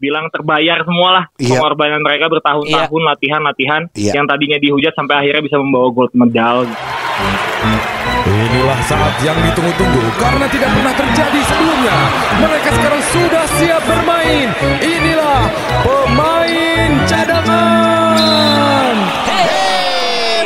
bilang terbayar semualah Iya. pengorbanan mereka bertahun-tahun latihan-latihan Iya. yang tadinya dihujat sampai akhirnya bisa membawa gold medal. Inilah saat yang ditunggu-tunggu karena tidak pernah terjadi sebelumnya. Mereka sekarang sudah siap bermain. Inilah pemain cadangan. Hey, Eh,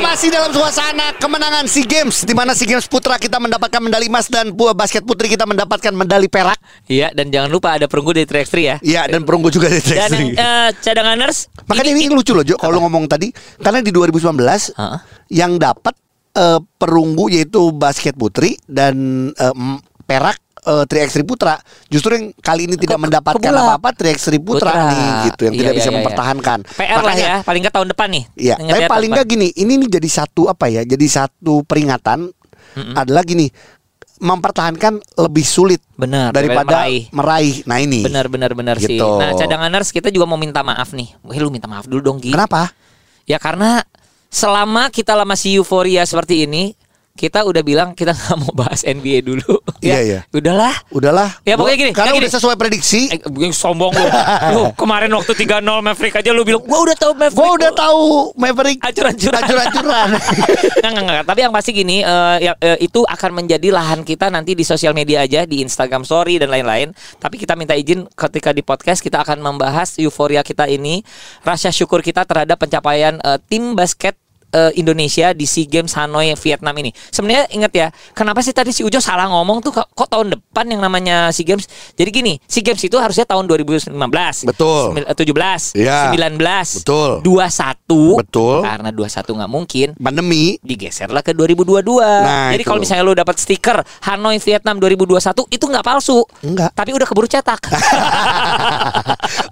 Masih dalam suasana kemenangan SEA Games di mana SEA Games putra kita mendapatkan medali emas dan bu- basket putri kita mendapatkan medali perak. Iya, dan jangan lupa ada perunggu dari Trax 3 ya. Iya, dan perunggu juga di Dan yang Traxxas. eh, cadanganers Makanya ini lucu loh Jo kalau ngomong tadi karena di 2019 Heeh. yang dapat eh, perunggu yaitu basket putri dan eh, m- perak eh, 3x3 putra justru yang kali ini tidak mendapatkan kebulak. apa-apa 3x3 putra, Putra. nih gitu yang Iya, tidak iya, bisa iya, iya. mempertahankan. PR lah ya, paling nggak tahun depan nih. Iya, Ingat tapi ya, paling tahun nggak gini, ini nih jadi satu apa ya? Jadi satu peringatan adalah gini, mempertahankan lebih sulit Benar, daripada daripada meraih. Nah ini, depan. Benar, benar, benar sih. Gitu. Nah, cadanganers kita juga mau minta maaf nih. Wih, lu minta maaf dulu dong, Gi. kenapa? Ya karena selama kita lah masih euforia seperti ini, kita udah bilang kita nggak mau bahas NBA dulu. Iya, Ya, iya. Udahlah. Udahlah. Ya, pokoknya Gua- gini, Karena kayak udah gini. sesuai prediksi. Eh, gue sombong lu. Lu kemarin waktu 3-0 Maverick aja lu bilang, "Gua udah tahu Maverick." Gue udah tahu Maverick Ancur-ancuran. Ancur-ancuran. Nggak, nggak, nggak. Tapi yang pasti gini, eh, ya, eh, itu akan menjadi lahan kita nanti di sosial media aja, di Instagram Story dan lain-lain. Tapi kita minta izin ketika di podcast kita akan membahas euforia kita ini, rasa syukur kita terhadap pencapaian eh, tim basket eh, Indonesia di SEA Games Hanoi Vietnam ini. Sebenarnya ingat ya, kenapa sih tadi si Ujo salah ngomong tuh kok, kok tahun depan yang namanya SEA Games. Jadi gini, SEA Games itu harusnya tahun 2015. Betul. sembil- eh, 17, Iya. 19, Betul. 21. Betul. Karena 21 nggak mungkin Pandemi. digeserlah ke 2022. Nah, Jadi itu. kalau misalnya lu dapat stiker Hanoi Vietnam 2021 itu nggak palsu. Nggak. Oh, Tapi udah keburu cetak.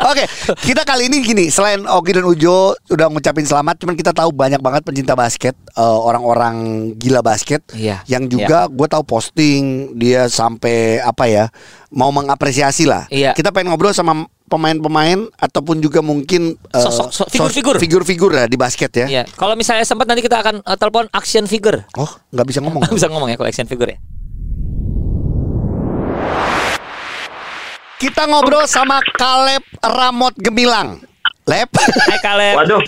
Oke, kita kali ini gini, selain Oki dan Ujo udah ngucapin selamat, cuman kita tahu banyak banget pencinta basket, eh, orang-orang gila basket, Iya, yang juga gue tahu posting dia sampai apa ya, mau mengapresiasi lah. Iya. Kita pengen ngobrol sama pemain-pemain ataupun juga mungkin eh, Sosok- so- sos- figur-figur. figur-figur lah di basket ya. Iya. Kalau misalnya sempat nanti kita akan eh, telepon action figure. Oh, nggak bisa ngomong. Bisa ngomong ya kalau action figure ya. kita ngobrol sama Kaleb Ramot Gemilang. Lep, Hai Kaleb. Waduh,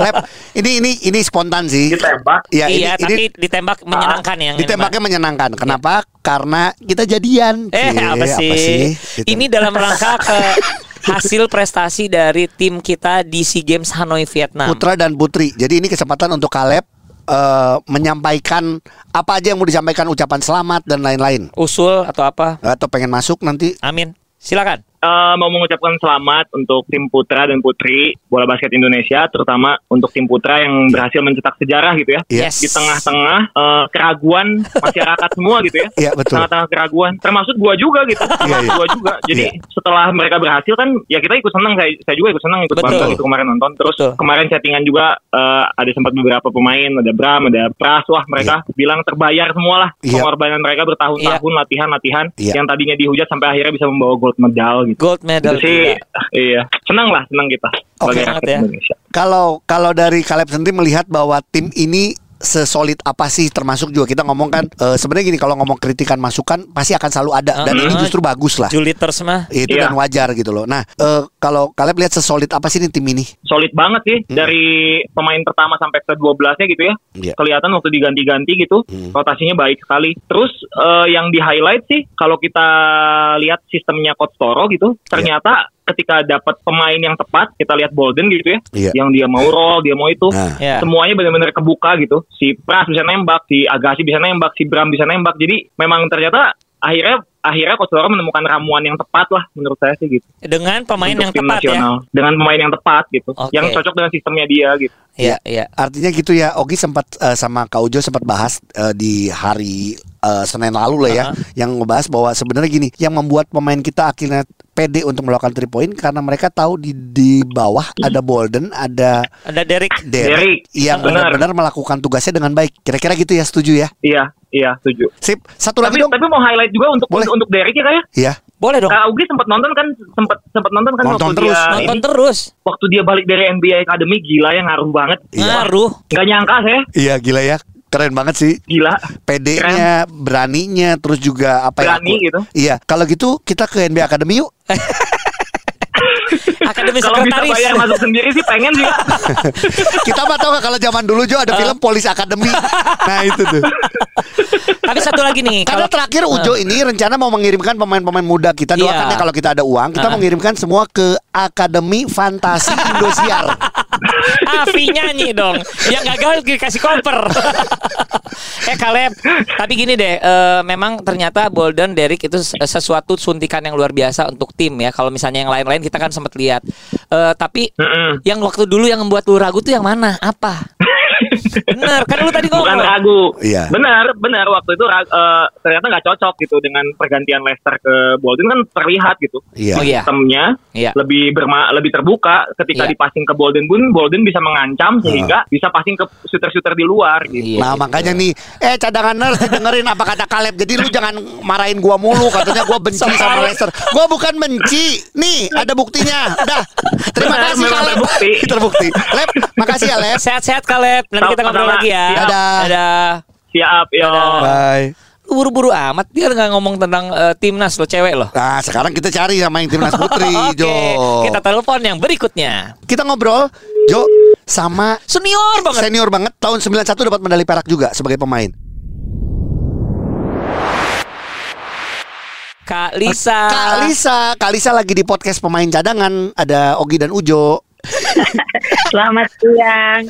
Lep, ini ini ini spontan sih. ditembak. Ya, ini- ini- Ah, iya, tapi ditembak menyenangkan ya, yang ini, Pak. Ditembaknya menyenangkan. Kenapa? Karena kita jadian. Eh Cie, apa sih? Gitu. Ini dalam rangka ke hasil prestasi dari tim kita di SEA Games Hanoi Vietnam. putra dan putri. Jadi ini kesempatan untuk Kaleb eh, menyampaikan apa aja yang mau disampaikan ucapan selamat dan lain-lain. Usul atau apa? Atau pengen masuk nanti Amin. Silakan. Eh, mau mengucapkan selamat untuk tim putra dan putri bola basket Indonesia, terutama untuk tim putra yang berhasil mencetak sejarah gitu ya. Iya. Yes. Di tengah-tengah eh, keraguan masyarakat semua gitu ya. Iya, betul. Tengah-tengah keraguan, termasuk gua juga gitu. Termasuk iya. gua juga. Jadi Iya. setelah mereka berhasil kan, ya kita ikut senang. Saya, saya juga ikut senang ikut Betul. bangga gitu kemarin nonton. Terus Betul. kemarin chattingan juga eh, ada sempat beberapa pemain, ada Bram, ada Pras, wah mereka bilang terbayar semualah Iya. pengorbanan mereka bertahun-tahun latihan-latihan Iya. yang tadinya dihujat sampai akhirnya bisa membawa gold medal gitu. Gold medal. Itu sih, juga. iya. Senang lah, senang kita sebagai banget rakyat ya. Indonesia. kalau kalau dari Kaleb sendiri melihat bahwa tim ini sesolid apa sih termasuk juga kita ngomong kan eh, sebenarnya gini kalau ngomong kritikan masukan pasti akan selalu ada dan Uh-uh. ini justru bagus lah Juliters mah. itu Iya. dan wajar gitu loh nah eh, kalau Kaleb lihat sesolid apa sih ini tim ini solid banget sih dari pemain pertama sampai ke 12-nya gitu ya. Iya. Kelihatan waktu diganti-ganti gitu, Hmm. rotasinya baik sekali. Terus eh, yang di-highlight sih kalau kita lihat sistemnya Coach Toro gitu, ternyata ketika dapat pemain yang tepat, kita lihat Bolden gitu ya, Iya. yang dia mau roll, dia mau itu. Nah. Ya. Semuanya benar-benar kebuka gitu. Si Pras bisa nembak, si Agassi bisa nembak, si Bram bisa nembak. Jadi memang ternyata akhirnya akhirnya Coach Toro menemukan ramuan yang tepat lah menurut saya sih gitu Dengan pemain untuk yang tim tepat ya. Iya, nasional. dengan pemain yang tepat gitu Oke. yang cocok dengan sistemnya dia gitu ya. Iya, iya. Artinya gitu ya, Ogi sempat eh, sama Kak Ujo sempat bahas eh, di hari eh, Senin lalu lah ya, yang ngebahas bahwa sebenarnya gini, yang membuat pemain kita akhirnya pede untuk melakukan three point karena mereka tahu di di bawah ada Bolden, ada Ada Derek. Derek Derek, yang benar. benar-benar melakukan tugasnya dengan baik. Kira-kira gitu ya, setuju ya? iya iya setuju Sip. Satu tapi lagi dong. tapi mau highlight juga untuk Boleh. untuk Derek ya kayak Iya. Boleh dong. Kak Ugi sempat nonton kan sempat sempat nonton kan Nonton waktu terus, dia Nonton ini, terus. waktu dia balik dari NBA Academy gila ya ngaruh banget Ngaruh. nggak nyangka saya Iya, gila ya. Keren banget sih. gila PD-nya, beraninya, terus juga apa ya? Berani aku- gitu. Iya. Kalau gitu kita ke NBA Academy yuk. Akademis Kalau bisa sekretaris. bayar masuk sendiri sih pengen sih. Kak. Kita mah tau gak kalau zaman dulu Jo Ah. ada film Polis Academy. Nah itu tuh. Tapi satu lagi nih, Karena kalau Ah. terakhir Ujo ini rencana mau mengirimkan pemain-pemain muda kita Iya. doakan ya kalau kita ada uang kita Ah. mengirimkan semua ke Akademi Fantasi Indosiar. Avi Ah, nyanyi dong Yang gagal dikasih koper Eh Kaleb Tapi gini deh eh, Memang ternyata Bolden Derek itu ses- sesuatu suntikan yang luar biasa untuk tim ya Kalau misalnya yang lain-lain kita kan sempat lihat Eh, Tapi Mm-mm. yang waktu dulu yang membuat lu ragu tuh yang mana? Apa? Bener kan lu tadi Bukan ngomong ragu. Iya. Benar, benar waktu itu ra- eh, ternyata nggak cocok gitu dengan pergantian Leicester ke Bolton kan terlihat gitu. Iya. Oh iya Sistemnya Iya. lebih berma lebih terbuka ketika Iya. dipassing ke Bolden pun Bolden bisa mengancam sehingga bisa passing ke shooter-shooter di luar gitu. Iya, nah gitu. makanya nih Eh cadangan nurse dengerin apa kata Kaleb Jadi lu jangan marahin gua mulu Katanya gua benci sama Lester Gua bukan benci Nih ada buktinya Udah Terima Benar, Nah, kasih memang Kaleb terbukti. Terbukti Leb makasih ya Leb Sehat-sehat Kaleb Nanti kita ngobrol Sama-sama. lagi ya Siap. Dadah. Dadah Siap, yo. Dadah. Bye Lu buru-buru amat Dia nggak ngomong tentang eh, timnas lo cewek lo Nah sekarang kita cari sama yang timnas putri Oke, Jo kita telepon yang berikutnya. Kita ngobrol Jo sama Senior banget. senior banget tahun 91 dapat medali perak juga sebagai pemain. Kak Lisa. Kak Lisa, Kak Lisa lagi di podcast pemain cadangan ada Ogi dan Ujo. Selamat siang.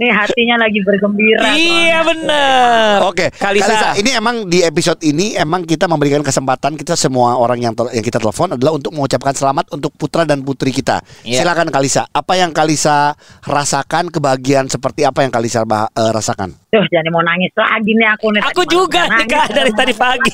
Nih hatinya lagi bergembira. Iya bener. Kak Lisa. ini emang di episode ini emang kita memberikan kesempatan kita semua orang yang tel- yang kita telepon adalah untuk mengucapkan selamat untuk putra dan putri kita. Iya. Silakan Kak Lisa, apa yang Kak Lisa rasakan kebahagiaan seperti apa yang Kak Lisa bah- eh, rasakan? Tuh, jadi mau nangis lagi nih aku nih. Aku Tadi malam juga nangis, nih Kak dari tadi pagi.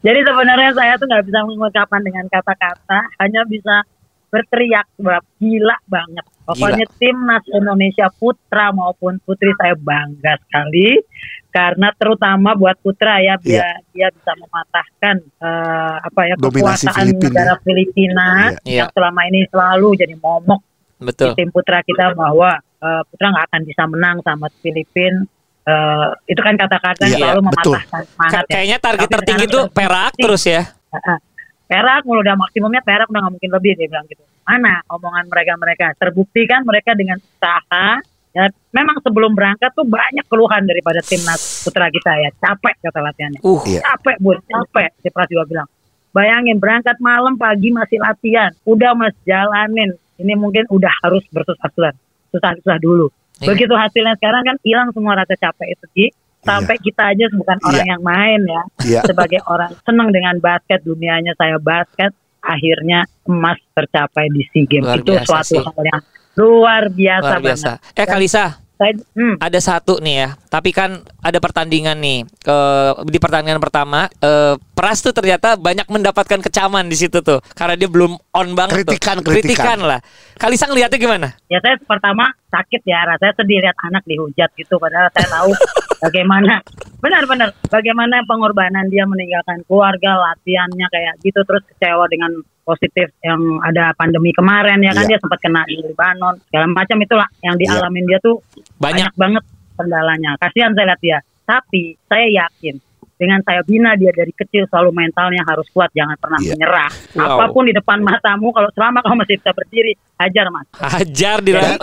Jadi sebenarnya saya tuh nggak bisa mengungkapkan dengan kata-kata, hanya bisa berteriak sebab gila banget. Pokoknya timnas Indonesia putra maupun putri saya bangga sekali karena terutama buat putra Iya. ya biar dia bisa mematahkan eh, apa ya Dominasi kekuasaan Filipina. negara Filipina Iya. yang selama ini selalu jadi momok Betul. di tim putra kita bahwa eh, putra nggak akan bisa menang sama Filipina. Eh, itu kan kata-kata yang Iya, selalu betul. mematahkan semangat ya. Ka- kayaknya target Tapi tertinggi sekarang tuh perak terus ya. Heeh. eh, Perak mulu udah maksimumnya perak udah nggak mungkin lebih dia bilang gitu. Mana omongan mereka mereka terbukti kan mereka dengan usaha. Ya, memang sebelum berangkat tuh banyak keluhan daripada timnas putra kita ya capek kata latihannya. Uh. Iya. Capek bun, capek. Si Pras juga bilang. Bayangin berangkat malam pagi masih latihan. Udah mas jalanin. Ini mungkin udah harus bersusah-susah. Susah-susah dulu. Iya. Begitu hasilnya sekarang kan hilang semua rasa capek itu Ki. Sampai Iya. kita aja bukan orang yang main ya Iya. sebagai orang senang dengan basket dunianya saya basket akhirnya emas tercapai di SEA Games Luar itu biasa suatu sih. hal yang luar biasa, Luar biasa. banget. Eh Kak Lisa, Saya, hmm, ada satu nih ya. Tapi kan ada pertandingan nih. Eh, di pertandingan pertama, eh, Pras tuh ternyata banyak mendapatkan kecaman di situ tuh karena dia belum on banget Kritikan, tuh. kritikan. lah. Kak Lisa ngeliatnya gimana? ya saya pertama sakit ya rasanya sedih lihat anak dihujat gitu padahal saya tahu bagaimana benar-benar bagaimana pengorbanan dia meninggalkan keluarga latihannya kayak gitu terus kecewa dengan positif yang ada pandemi kemarin ya kan Iya. dia sempat kena di Lebanon segala macam itulah yang Iya. dialamin dia tuh Banyak. banyak banget kendalanya. Kasihan saya lihat dia. Tapi saya yakin dengan saya bina dia dari kecil selalu mentalnya harus kuat, jangan pernah Iya. menyerah. Wow. Apapun di depan matamu kalau selama kamu masih bisa berdiri, hajar Mas. Hajar di Dan-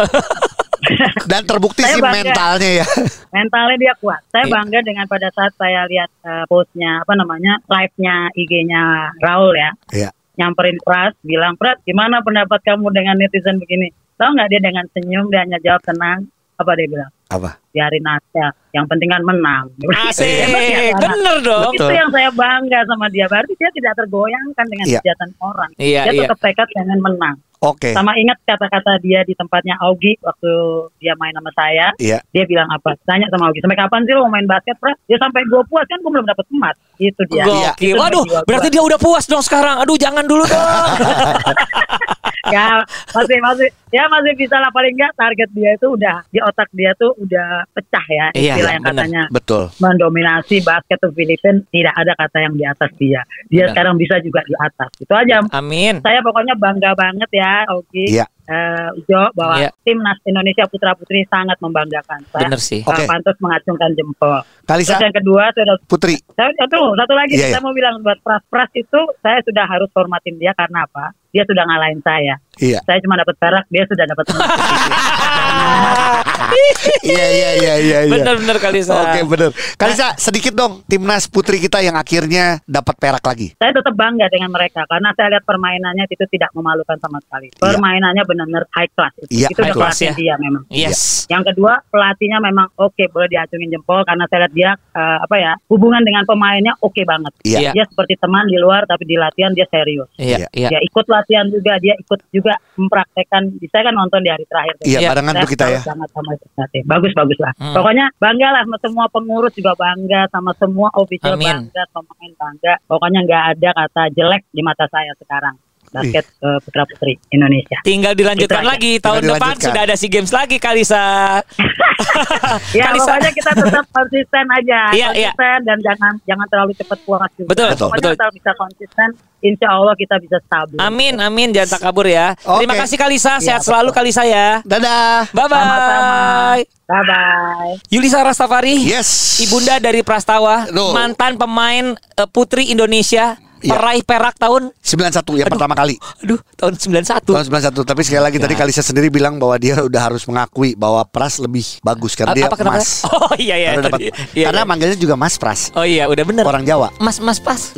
Dan terbukti Saya sih bangga. mentalnya ya. Mentalnya dia kuat. Saya Iya. bangga dengan pada saat saya lihat eh, postnya apa namanya? live-nya IG-nya Raul ya. Iya. Nyamperin Pras, bilang Pras, gimana pendapat kamu dengan netizen begini? Tahu nggak dia dengan senyum dia hanya jawab tenang. Apa dia bilang? Apa? Biarin aja. Yang penting kan menang. Dia bilang, Asik, "Hebat ya, anak." bener dong. Itu yang saya bangga sama dia. Berarti dia tidak tergoyangkan dengan Iya. kejahatan orang. Iya, dia iya. tetap tekad pengen menang. Oke. Sama ingat kata-kata dia di tempatnya Augie waktu dia main sama saya. Iya. Dia bilang apa? Tanya sama Augie, sampai kapan sih lo main basket, Pras? Dia sampai gue puas kan gue belum dapat emas. Itu Iya, dia. Gokil. Itu Waduh, dia jiwa berarti gua. dia udah puas dong sekarang. Aduh, jangan dulu dong. ya masih masih ya masih bisa lah paling enggak target dia itu udah di otak dia tuh udah pecah ya Iya, istilah iya, yang bener. katanya Betul. mendominasi basket tuh Filipina tidak ada kata yang di atas dia. Dia Benar. sekarang bisa juga di atas. Itu aja. Amin. Saya pokoknya bangga banget ya, Oki. Iya. Eh, Ujo bahwa Iya. timnas Indonesia putra putri sangat membanggakan. Saya Bener sih. eh, Oke. pantas mengacungkan jempol. Kalisa Terus yang kedua saya Nah, udah Putri. saya satu, satu lagi Iya, saya iya. mau bilang buat Pras Pras itu saya sudah harus hormatin dia karena apa? dia sudah ngalahin saya. Iya. Saya cuma dapat perak, dia sudah dapat emas. Iya iya iya iya. iya. Bener-bener kali Oke bener. Kalisa sedikit dong timnas putri kita yang akhirnya dapat perak lagi. saya tetap bangga dengan mereka karena saya lihat permainannya itu tidak memalukan sama sekali. Permainannya benar-benar high class. Itu, Iya, itu high udah class pelatih ya. dia memang. Iya. Yes. Yang kedua pelatihnya memang oke boleh diacungin jempol karena saya lihat dia eh, apa ya hubungan dengan pemainnya oke banget. Iya. Iya. Dia seperti teman di luar tapi di latihan dia serius. Iya, iya. Dia ikut latihan juga, dia ikut juga mempraktekkan. Saya kan nonton di hari terakhir. tuh. Iya Iya, barengan Saya tuh kita ya. salut banget sama Sukmati. Bagus bagus lah. Hmm. Pokoknya bangga lah sama semua pengurus juga bangga sama semua official Amin. bangga, pemain bangga. Pokoknya nggak ada kata jelek di mata saya sekarang basket eh, putra putri Indonesia. Tinggal dilanjutkan Itu aja. lagi Tinggal tahun depan dilanjutkan. Iya. sudah ada SEA Games lagi Kalisa. Ya Kalisa. pokoknya kita tetap konsisten aja, Iya, iya. konsisten dan jangan jangan terlalu cepat puas juga. Betul, Betul. Pokoknya betul. asal bisa konsisten, insya Allah kita bisa stabil. Amin, amin jangan tak kabur ya. Oke. Terima kasih Kalisa, sehat Iya, selalu Kalisa ya. Dadah. Bye bye. Bye bye. Yulisa Rastafari. Yes. Ibunda dari Prastawa, Loh. mantan pemain eh, putri Indonesia, Iya. peraih perak tahun 91 yang ya, pertama kali. aduh Ya. tahun 91. Tahun 91 tapi sekali lagi tadi Kalisa sendiri bilang bahwa dia udah harus mengakui bahwa Pras lebih bagus karena dia A- apa kenapa? Mas. Oh iya iya. karena dapat tadi. Iya, karena iya. manggilnya juga Mas Pras Oh iya udah bener. orang Jawa. Mas Mas Pas.